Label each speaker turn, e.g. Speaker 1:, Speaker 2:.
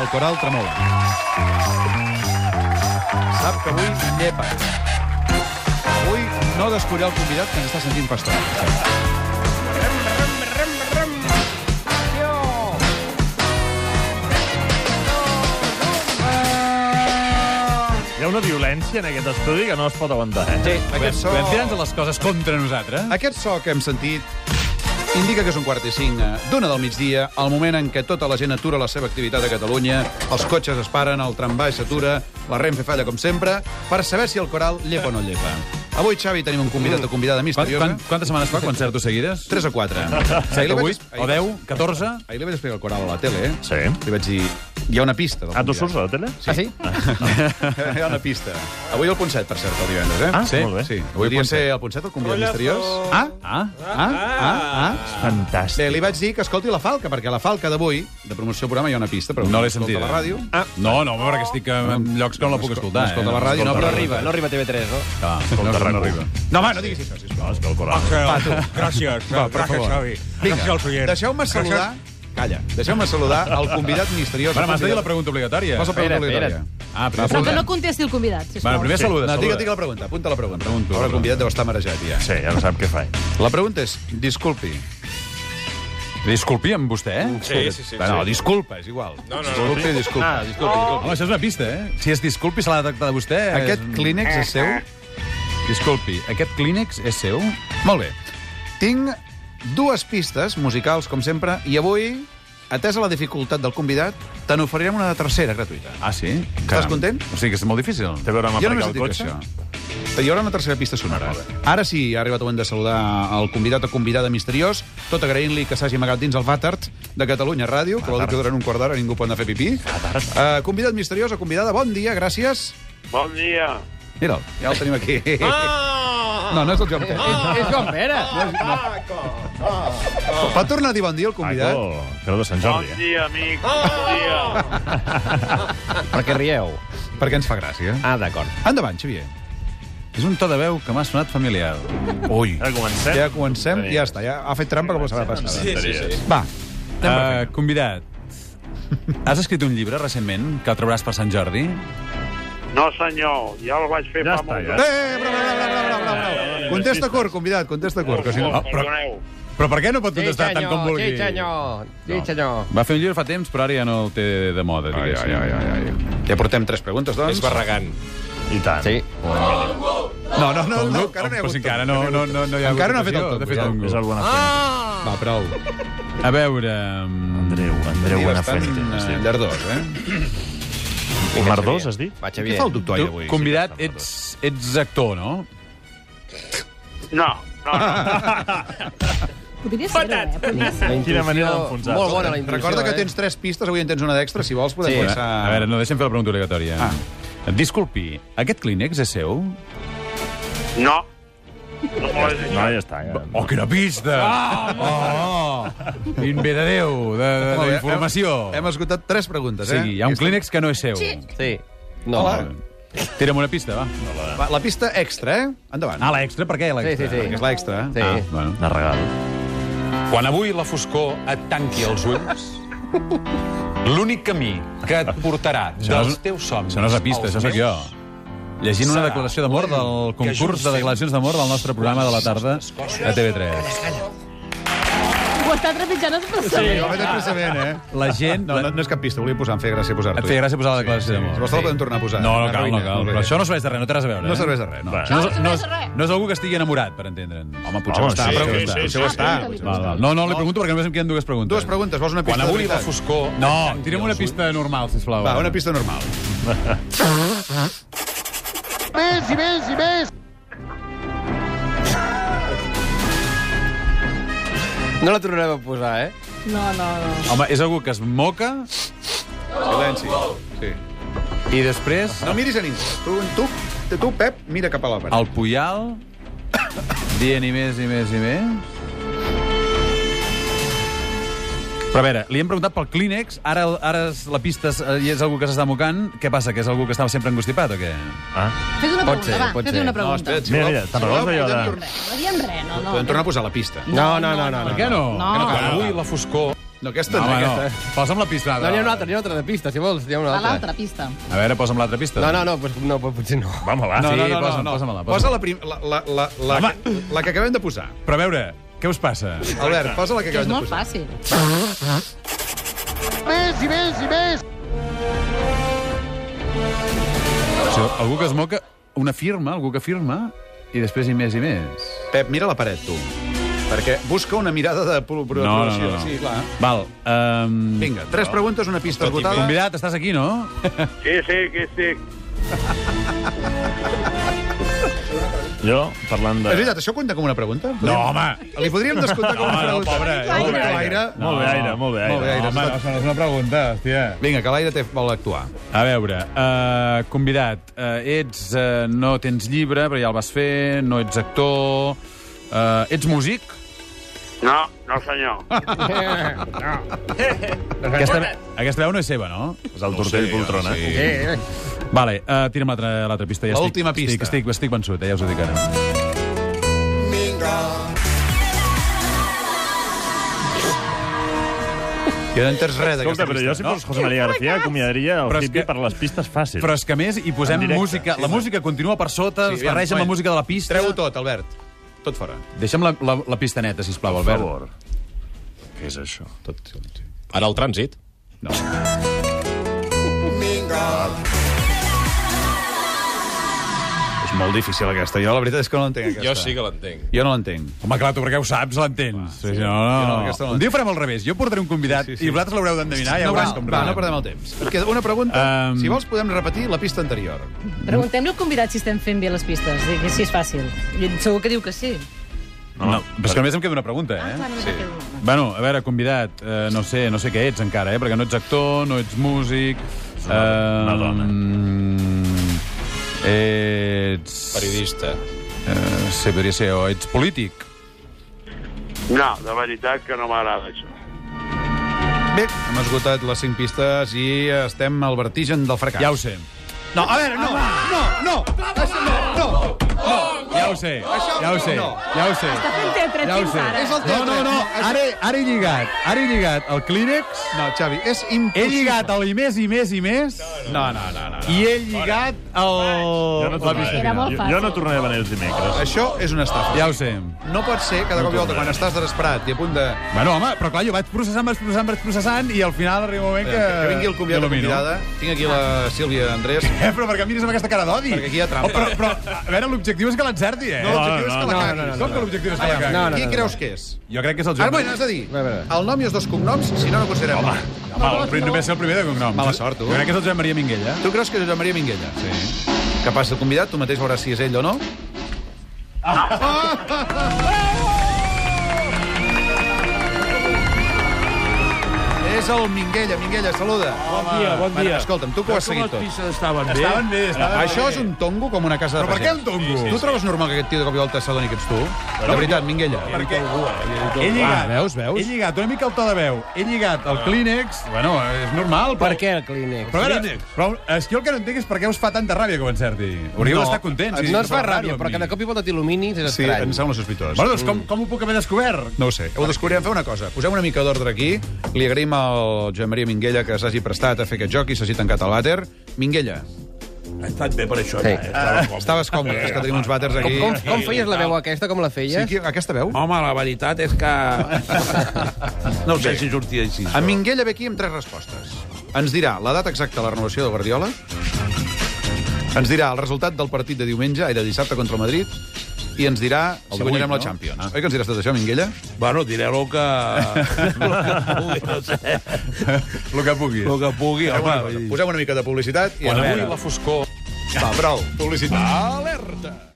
Speaker 1: el coral tremola. Sap que avui llepa. Avui no descobrir el convidat que ens està sentint pastor.
Speaker 2: Hi ha una violència en aquest estudi que no es pot aguantar, eh?
Speaker 1: Sí,
Speaker 3: Podem,
Speaker 1: aquest so,
Speaker 3: podem tirar-nos les coses contra nosaltres?
Speaker 1: aquest so que hem sentit indica que és un quart i cinc eh, d'una del migdia, el moment en què tota la gent atura la seva activitat a Catalunya, els cotxes es paren, el tramvai s'atura, la Renfe falla com sempre, per saber si el coral llepa o no llepa. Avui, Xavi, tenim un convidat o convidada
Speaker 3: Quant,
Speaker 1: misteriosa.
Speaker 3: quant, quantes setmanes fa, concertos seguides?
Speaker 1: 3 o 4.
Speaker 3: 7 o 8? O 10? 14?
Speaker 1: Ahir li vaig explicar el coral a la tele, eh?
Speaker 2: Sí.
Speaker 1: Li vaig dir, hi ha una pista. del
Speaker 2: Ah, tu
Speaker 1: convidat.
Speaker 2: surts a la tele?
Speaker 4: Ah, sí?
Speaker 1: Hi ha una pista. Avui el Ponset, per cert, el divendres, eh?
Speaker 2: Ah,
Speaker 1: sí?
Speaker 2: molt bé.
Speaker 1: Sí. Avui podria ser el Ponset, el convidat misteriós.
Speaker 3: Ah? Ah?
Speaker 1: Ah, ah, ah.
Speaker 2: Fantàstic.
Speaker 1: Bé, li vaig dir que escolti la falca, perquè a la falca d'avui, de promoció del programa, hi ha una pista, però
Speaker 3: No l'he
Speaker 1: escolta
Speaker 3: sentida.
Speaker 1: la ràdio.
Speaker 3: Ah. No, no, perquè estic en llocs que no la puc escoltar. eh?
Speaker 1: Escolta la ràdio, no, però arriba.
Speaker 4: no arriba a TV3, no?
Speaker 3: Ah,
Speaker 2: Escolta,
Speaker 3: no,
Speaker 2: raco.
Speaker 3: no arriba.
Speaker 1: No, home, no diguis això, sisplau.
Speaker 2: No, és que el coral...
Speaker 5: Va, tu. Gràcies.
Speaker 1: Va, per
Speaker 5: gràcies,
Speaker 1: favor.
Speaker 5: Xavi. Gràcies als oients.
Speaker 1: deixeu-me saludar... Calla. Deixeu-me saludar el convidat misteriós.
Speaker 3: Bueno, m'has de dir la
Speaker 1: pregunta.
Speaker 3: pregunta obligatòria.
Speaker 1: Vas a preguntar
Speaker 4: Espera't,
Speaker 1: obligatòria.
Speaker 3: Ah, primer
Speaker 6: Però
Speaker 3: saluda.
Speaker 6: que no contesti el convidat, sisplau.
Speaker 3: Bueno, primer saluda,
Speaker 1: No, digue,
Speaker 3: saluda.
Speaker 1: digue la pregunta, apunta la pregunta.
Speaker 3: Pregunto,
Speaker 1: Ara
Speaker 3: la
Speaker 1: el convidat deu estar marejat, ja.
Speaker 2: Sí, ja no sap què fa.
Speaker 1: La pregunta és, disculpi,
Speaker 3: Disculpi amb vostè, eh?
Speaker 5: Sí, sí,
Speaker 1: Ah,
Speaker 5: sí.
Speaker 3: No,
Speaker 5: sí.
Speaker 3: disculpa, és igual.
Speaker 5: No, no, no.
Speaker 1: disculpi, disculpi.
Speaker 2: Ah, disculpi,
Speaker 3: Home, això és una pista, eh? Si es disculpi, se l'ha de tractar de vostè.
Speaker 1: Aquest
Speaker 3: És un-
Speaker 1: clínex és seu?
Speaker 3: Disculpi, aquest clínex és seu?
Speaker 1: Molt bé. Tinc dues pistes musicals, com sempre, i avui, atesa la dificultat del convidat, te n'oferirem una tercera gratuïta.
Speaker 3: Ah, sí?
Speaker 1: Estàs content?
Speaker 3: O sigui que és molt difícil.
Speaker 2: Té a veure amb
Speaker 1: Jo
Speaker 2: aparcar
Speaker 1: només et
Speaker 2: el
Speaker 1: dic
Speaker 2: cotxe? Ah,
Speaker 1: això. Hi haurà una tercera pista sonora. Ara sí, ha arribat el moment de saludar el convidat o convidada misteriós, tot agraint-li que s'hagi amagat dins el vàtard de Catalunya Ràdio, que vol dir que durant un quart d'hora ningú pot anar a fer pipí. Uh, convidat misteriós o convidada, bon dia, gràcies.
Speaker 7: Bon dia.
Speaker 1: Mira'l, ja el tenim aquí.
Speaker 2: Ah!
Speaker 1: No, no és el Joan Pere.
Speaker 4: És, és Joan Pere.
Speaker 1: Pot tornar a dir bon dia el convidat?
Speaker 2: Paco, Creu de Sant
Speaker 7: Bon
Speaker 2: Jordi, eh?
Speaker 7: dia, amic. Bon dia.
Speaker 4: Per què rieu?
Speaker 1: Perquè ens fa gràcia.
Speaker 4: Ah, d'acord.
Speaker 1: Endavant, Xavier.
Speaker 3: És un to de veu que m'ha sonat familiar. Ui.
Speaker 2: Ara comencem.
Speaker 1: Ja comencem, ja està. Ja ha fet trampa com la setmana passada.
Speaker 2: Eh? Sí, sí, sí.
Speaker 1: Va,
Speaker 3: Uh, convidat, has escrit un llibre recentment que el trauràs per Sant Jordi?
Speaker 7: No, senyor, ja el vaig fer
Speaker 2: Ja està,
Speaker 7: fa molt
Speaker 2: ja.
Speaker 7: de
Speaker 1: Eh, eh, bravo, bravo, bravo, bravo, bravo, bravo. Contesta curt, convidat, contesta curt. Que si no...
Speaker 3: Ah, però-
Speaker 7: Perdoneu.
Speaker 3: Però per què no pot contestar tant com vulgui?
Speaker 4: Sí, senyor. Sí, senyor.
Speaker 3: Va fer un llibre fa temps, però ara ja no el té de moda, diguéssim. Ai, ai, ai, ai.
Speaker 1: Ja portem tres preguntes, doncs.
Speaker 5: És barregant.
Speaker 2: I tant.
Speaker 4: Sí.
Speaker 1: No, no, no, no, encara no hi ha
Speaker 3: Però
Speaker 1: hagut
Speaker 3: si encara
Speaker 1: tot.
Speaker 3: no, no, no, no hi ha
Speaker 1: Encara no ha
Speaker 3: votació,
Speaker 1: fet el
Speaker 3: fet
Speaker 1: tongo,
Speaker 2: És
Speaker 3: tongo.
Speaker 2: el
Speaker 4: Ah!
Speaker 2: Buenafuente.
Speaker 1: Va, prou.
Speaker 3: A veure... mm,
Speaker 2: Andreu, Andreu
Speaker 1: Diu bastant
Speaker 2: Buenafuente. es
Speaker 1: eh,
Speaker 2: diu.
Speaker 1: llardós, eh?
Speaker 2: Mardós, has dit?
Speaker 4: Va,
Speaker 1: Què
Speaker 4: Xavier.
Speaker 1: fa el doctor
Speaker 3: Tu,
Speaker 1: ahir avui?
Speaker 3: convidat, ets, ets actor, no?
Speaker 7: No, no, no.
Speaker 6: Podria ser greu, eh? Podria ser.
Speaker 4: La
Speaker 2: Quina manera
Speaker 4: intuïció-
Speaker 2: d'enfonsar.
Speaker 4: Molt bona la intuïció,
Speaker 1: Recorda que
Speaker 4: eh?
Speaker 1: tens tres pistes, avui en tens una d'extra, si vols podem
Speaker 4: Sí.
Speaker 1: passar...
Speaker 3: A veure, no, deixa'm fer la pregunta obligatòria.
Speaker 1: Ah.
Speaker 3: Disculpi, aquest clínex és seu?
Speaker 7: No. No me l'has dit.
Speaker 2: No, Ah, ja està. Ja.
Speaker 3: Oh, quina pista! Ah, oh! Quin bé de Déu, de, de,
Speaker 1: Molt
Speaker 3: de
Speaker 1: bé,
Speaker 3: informació.
Speaker 1: Hem, hem esgotat tres preguntes,
Speaker 3: O
Speaker 1: eh?
Speaker 3: sigui, hi ha un clínex que no és seu.
Speaker 6: Sí.
Speaker 4: Sí. No.
Speaker 1: Hola.
Speaker 3: Tira'm una pista, va.
Speaker 1: Va, la pista extra, eh? Endavant.
Speaker 3: Ah, l'extra, per què
Speaker 4: Sí,
Speaker 3: l'extra?
Speaker 4: sí, sí.
Speaker 1: És l'extra, eh?
Speaker 4: Sí.
Speaker 3: Ah, bueno.
Speaker 2: De regal.
Speaker 8: Quan avui la foscor et tanqui els ulls, l'únic camí que et portarà
Speaker 3: no és-
Speaker 8: dels teus somnis...
Speaker 3: Això no és la pista,
Speaker 8: als
Speaker 3: això sóc
Speaker 8: meus,
Speaker 3: jo. Llegint una
Speaker 8: Serà
Speaker 3: declaració d'amor del concurs de declaracions d'amor del nostre programa de la tarda a TV3.
Speaker 6: Ho està trepitjant el
Speaker 1: Ho
Speaker 6: personal.
Speaker 1: vaig expressament, eh?
Speaker 3: La gent...
Speaker 1: No, no, no és cap pista, volia posar, em feia gràcia posar-t'ho.
Speaker 3: Et feia gràcia posar la declaració
Speaker 1: Si
Speaker 3: d'amor.
Speaker 1: vols te la podem tornar a posar.
Speaker 3: No, no cal, no
Speaker 1: Arruïna,
Speaker 3: cal.
Speaker 1: molt bé.
Speaker 3: Però això no serveix de res, no té res a veure.
Speaker 1: No
Speaker 3: eh?
Speaker 1: serveix de res, no.
Speaker 3: Això no,
Speaker 6: No
Speaker 3: no,
Speaker 6: serveix de res.
Speaker 3: no és algú que estigui enamorat, per entendre'ns. Home,
Speaker 2: Home,
Speaker 3: ho està,
Speaker 2: sí,
Speaker 3: però-
Speaker 2: sí,
Speaker 3: està.
Speaker 2: sí,
Speaker 1: Això ho està.
Speaker 3: Val, val. No, no, li pregunto perquè només em queden dues preguntes.
Speaker 1: Dues preguntes, vols una pista
Speaker 8: Quan
Speaker 1: de
Speaker 8: avui la
Speaker 1: veritat?
Speaker 8: foscor... et
Speaker 3: No,
Speaker 8: tanqui
Speaker 3: tira'm una
Speaker 8: els ulls,
Speaker 3: pista normal, sisplau.
Speaker 1: Va, una pista normal.
Speaker 4: Més i més i més. No la tornarem a posar, eh?
Speaker 6: No, no, no.
Speaker 3: Home, és algú que es moca
Speaker 1: Silenci. Sí.
Speaker 3: i després
Speaker 1: No miris a ningú. Tu, tu, tu, Pep, mira cap a la paret.
Speaker 3: el Puyal dient i més i més i més. Però a veure, li hem preguntat pel Clínex, ara, ara és, la pista és, eh, i és algú que s'està mocant. Què passa, que és algú que està sempre engostipat o què?
Speaker 2: Ah.
Speaker 6: Fes una
Speaker 4: Pot
Speaker 6: pregunta,
Speaker 4: ser,
Speaker 6: va.
Speaker 4: pot
Speaker 6: Fes
Speaker 4: ser.
Speaker 6: una
Speaker 4: No,
Speaker 6: pregunta.
Speaker 1: espera't, si
Speaker 2: Mira,
Speaker 1: voleu-
Speaker 2: mira,
Speaker 1: si
Speaker 2: te'n
Speaker 1: voleu,
Speaker 2: recordes allò
Speaker 1: podem
Speaker 2: de-
Speaker 1: tornar-
Speaker 6: No diem res, no, no.
Speaker 1: Podem tornar a posar la pista.
Speaker 4: No, no, no. no,
Speaker 3: Per què no?
Speaker 6: No.
Speaker 3: Que
Speaker 8: Quan avui la foscor
Speaker 1: No, aquesta no,
Speaker 3: No, home,
Speaker 1: aquesta.
Speaker 3: no. Posa'm la pista.
Speaker 4: No, n'hi ha una altra, n'hi ha una altra de pista, si vols. N'hi ha una
Speaker 6: A
Speaker 4: altra.
Speaker 6: l'altra pista.
Speaker 3: A veure, posa'm l'altra pista. Ah,
Speaker 4: No, no, no, pues, no pues, potser no.
Speaker 2: Va, home, va.
Speaker 3: No,
Speaker 2: sí.
Speaker 3: no, no, no, no.
Speaker 1: Posa,
Speaker 3: Posa-me-la, posa-me-la.
Speaker 1: posa la, prim, la, la, la, la, la, que, la que acabem de posar.
Speaker 3: Però a veure, què us passa?
Speaker 1: Albert, posa la que
Speaker 6: Que és
Speaker 1: acabem de
Speaker 6: molt
Speaker 1: posar.
Speaker 6: fàcil.
Speaker 4: Mm.
Speaker 3: Això, algú que es moca, una firma, algú que firma, i després i més i més.
Speaker 1: Pep, mira la paret, tu. Perquè busca una mirada de pro- pro- aprovació. Sí, clar.
Speaker 3: Val. Um...
Speaker 1: Vinga, tres preguntes, una pista esgotada.
Speaker 3: Convidat, estàs aquí, no?
Speaker 7: Sí, sí, que estic.
Speaker 2: Jo,
Speaker 1: És
Speaker 2: parlant de...
Speaker 1: veritat, això compta com una pregunta?
Speaker 3: No, home!
Speaker 1: Li podríem descomptar com una
Speaker 2: Home, no,
Speaker 1: pregunta.
Speaker 2: pobre,
Speaker 1: Molt bé,
Speaker 2: pobre.
Speaker 1: Calaire.
Speaker 2: No. Molt bé, aire, molt bé, aire.
Speaker 1: Molt bé, aire.
Speaker 3: Home, no, això no és una pregunta, hòstia.
Speaker 1: Vinga, Calaire té, vol actuar.
Speaker 3: A veure, uh, convidat, uh, ets, uh, no tens llibre, però ja el vas fer, no ets actor, uh, ets músic?
Speaker 7: No, no senyor.
Speaker 3: Aquesta, aquesta veu no és seva, no?
Speaker 2: És el tortell poltrona. Sí.
Speaker 4: Eh, eh.
Speaker 3: Vale, uh, tira'm l'altra l'altra pista. Ja
Speaker 1: L'última
Speaker 3: estic,
Speaker 1: pista.
Speaker 3: Estic, estic, estic vençut, eh, ja us ho dic ara.
Speaker 1: Jo no entens res d'aquesta
Speaker 2: Escolta, però jo si fos José María García acomiadaria el
Speaker 3: Però és
Speaker 2: Tipi
Speaker 3: que-
Speaker 2: per les pistes fàcils.
Speaker 3: Però és que a més hi posem
Speaker 2: En directe.
Speaker 3: música. La música continua per sota,
Speaker 1: Sí,
Speaker 3: es
Speaker 1: aviam,
Speaker 3: barreja amb
Speaker 1: coi.
Speaker 3: la música de la pista.
Speaker 1: Treu-ho tot, Albert. Tot fora.
Speaker 3: Deixa'm la, la, la pista neta, sisplau,
Speaker 2: Per
Speaker 3: Albert.
Speaker 2: favor. Què és això?
Speaker 1: Tot. Sí,
Speaker 8: En el trànsit.
Speaker 1: és molt difícil, aquesta. Jo la veritat és que no l'entenc, aquesta.
Speaker 8: Jo sí que l'entenc.
Speaker 1: Jo no l'entenc.
Speaker 3: Home, clar, tu perquè ho saps, l'entens. Sí, sí.
Speaker 1: Jo
Speaker 3: No,
Speaker 1: no,
Speaker 3: no.
Speaker 1: aquesta no
Speaker 3: Un dia ho farem al revés. Jo portaré un convidat sí, sí, sí. i vosaltres l'haureu d'endevinar. Ja
Speaker 1: No, va,
Speaker 3: veuràs com
Speaker 1: va, no
Speaker 3: rebrem.
Speaker 1: perdem el temps. Et queda una pregunta.
Speaker 3: Um,
Speaker 1: Um... Si vols, podem repetir la pista anterior.
Speaker 6: Preguntem-li al convidat si estem fent bé les pistes, que si és fàcil. I segur que diu que sí.
Speaker 3: No, no, però és que només em queda una pregunta, eh?
Speaker 6: Ah, sí. Queda...
Speaker 3: Bueno, a veure, convidat, eh, no, sé, no sé què ets encara, eh? Perquè no ets actor, no ets músic... Eh,
Speaker 2: una dona.
Speaker 3: mm, Ets...
Speaker 8: Periodista.
Speaker 3: Eh, sí, podria ser, o ets polític.
Speaker 7: No, de veritat que no m'agrada això.
Speaker 1: Bé, hem esgotat les cinc pistes i estem al vertigen del fracàs.
Speaker 3: Ja ho sé.
Speaker 1: No, a veure, no, no, no, això no, no.
Speaker 3: Ja ho sé,
Speaker 1: Això
Speaker 3: ja ho sé,
Speaker 1: no.
Speaker 3: ja ho sé.
Speaker 6: Està fent teatre
Speaker 3: Ja ho
Speaker 6: fins
Speaker 3: sé.
Speaker 6: ara.
Speaker 1: És el
Speaker 3: No,
Speaker 1: teatre.
Speaker 3: no, no,
Speaker 1: Això-
Speaker 3: ara, ara he lligat, ara he lligat el Kleenex,
Speaker 1: No, Xavi, és
Speaker 3: he
Speaker 1: impossible.
Speaker 3: lligat el i més i més i més,
Speaker 1: No, no, no, no.
Speaker 3: i he lligat
Speaker 2: Jo
Speaker 3: el...
Speaker 2: no,
Speaker 3: la
Speaker 2: tornaré.
Speaker 3: pista
Speaker 6: Era molt
Speaker 2: jo,
Speaker 6: fàcil.
Speaker 2: jo no tornaré a venir els dimecres.
Speaker 1: Això és una estafa.
Speaker 3: Ja ho sé.
Speaker 1: No pot ser que de cop i volta, quan estàs desesperat i a punt de...
Speaker 3: Bueno, home, però clar, jo vaig processant, vaig processant, vaig processant i al final arriba un moment que...
Speaker 1: Que, eh, que vingui el convidat o
Speaker 3: il·lumino.
Speaker 1: convidada. Tinc aquí la Sílvia Andrés.
Speaker 3: Eh, però perquè em mires amb aquesta cara d'odi.
Speaker 1: Perquè aquí hi ha trampa.
Speaker 3: Oh, però, però, a veure, l'objectiu és que l'encerti, eh?
Speaker 1: No, l'objectiu
Speaker 2: no,
Speaker 1: és que la
Speaker 4: no,
Speaker 1: caguis.
Speaker 4: no, no, no.
Speaker 3: Com que l'objectiu és que la
Speaker 1: Aviam,
Speaker 3: cagui?
Speaker 4: No, no,
Speaker 1: qui
Speaker 4: no, no.
Speaker 1: creus que és?
Speaker 3: Jo crec que és el
Speaker 1: Ara,
Speaker 3: Joan.
Speaker 1: bueno, has de dir,
Speaker 4: A veure.
Speaker 1: el nom i els dos cognoms, si no, no considerem. Home.
Speaker 3: Home, el primer, només ser el primer de cognom.
Speaker 1: Mala sort, tu.
Speaker 3: Jo crec que és el Joan Maria Minguella.
Speaker 1: Tu creus que és Josep Maria Minguella?
Speaker 3: Sí.
Speaker 1: Que passa el convidat, tu mateix veuràs si és ell o no. Ah. És el Minguella. Minguella, saluda. Bon
Speaker 5: dia, bon dia.
Speaker 1: escolta'm, tu que ho has seguit tot.
Speaker 5: estaven bé?
Speaker 3: Estaven bé, estaven
Speaker 1: Ah, Això és un tongo com una casa de
Speaker 3: Però per què
Speaker 1: pagès.
Speaker 3: un tongo?
Speaker 1: Tu trobes normal que aquest tio de cop i volta s'adoni que ets tu? De veritat, Minguella.
Speaker 3: Perquè he lligat,
Speaker 4: Ah, veus, veus?
Speaker 3: he lligat una mica el to de veu, he lligat
Speaker 1: Ah.
Speaker 3: el Kleenex, bueno, és normal,
Speaker 4: Per
Speaker 3: però...
Speaker 4: què el Kleenex?
Speaker 3: Però, a veure, però eh, és que jo el que no entenc és per què us fa tanta ràbia que ho encerti. Hauríeu d'estar contents. i
Speaker 4: No ens fa
Speaker 3: celebrar-ho
Speaker 4: ràbia,
Speaker 3: amb
Speaker 4: però que
Speaker 3: mi.
Speaker 4: de cop i volta t'il·luminis és
Speaker 1: Sí,
Speaker 4: estrany.
Speaker 1: em sembla sospitós.
Speaker 3: Bueno, doncs com,
Speaker 5: Mm.
Speaker 3: com ho puc haver descobert?
Speaker 1: No ho sé. Ho descobrirem. Feu una cosa. Posem una mica d'ordre aquí. Li agraïm al Joan Maria Minguella que s'hagi prestat a fer aquest joc i s'hagi tancat el vàter. Minguella,
Speaker 5: Ha estat bé per això.
Speaker 4: Sí.
Speaker 5: Ja, estava com...
Speaker 1: estaves còmode, és que tenim uns vàters aquí.
Speaker 4: Com, com feies la veu aquesta? Com la
Speaker 1: Sí,
Speaker 4: feies?
Speaker 1: qui, aquesta veu?
Speaker 5: Home, la veritat és que... no sé si sortia així.
Speaker 1: En Minguella ve aquí amb tres respostes. Ens dirà la data exacta de la renovació de Guardiola, ens dirà el resultat del partit de diumenge, i de dissabte contra el Madrid, i ens dirà si
Speaker 3: d'avui,
Speaker 1: guanyarem
Speaker 3: no?
Speaker 1: la Champions.
Speaker 5: Ah.
Speaker 1: Oi que ens diràs tot això, Minguella?
Speaker 5: Bueno, diré el que... el que pugui, no sé.
Speaker 3: El que puguis.
Speaker 5: El que pugui,
Speaker 1: Fem una
Speaker 5: home.
Speaker 1: cosa.
Speaker 5: vull dir.
Speaker 1: Posem una mica de publicitat i...
Speaker 8: Quan
Speaker 1: a
Speaker 8: avui
Speaker 1: veure.
Speaker 8: la foscor
Speaker 1: Va, prou. Publicitat.
Speaker 8: Alerta!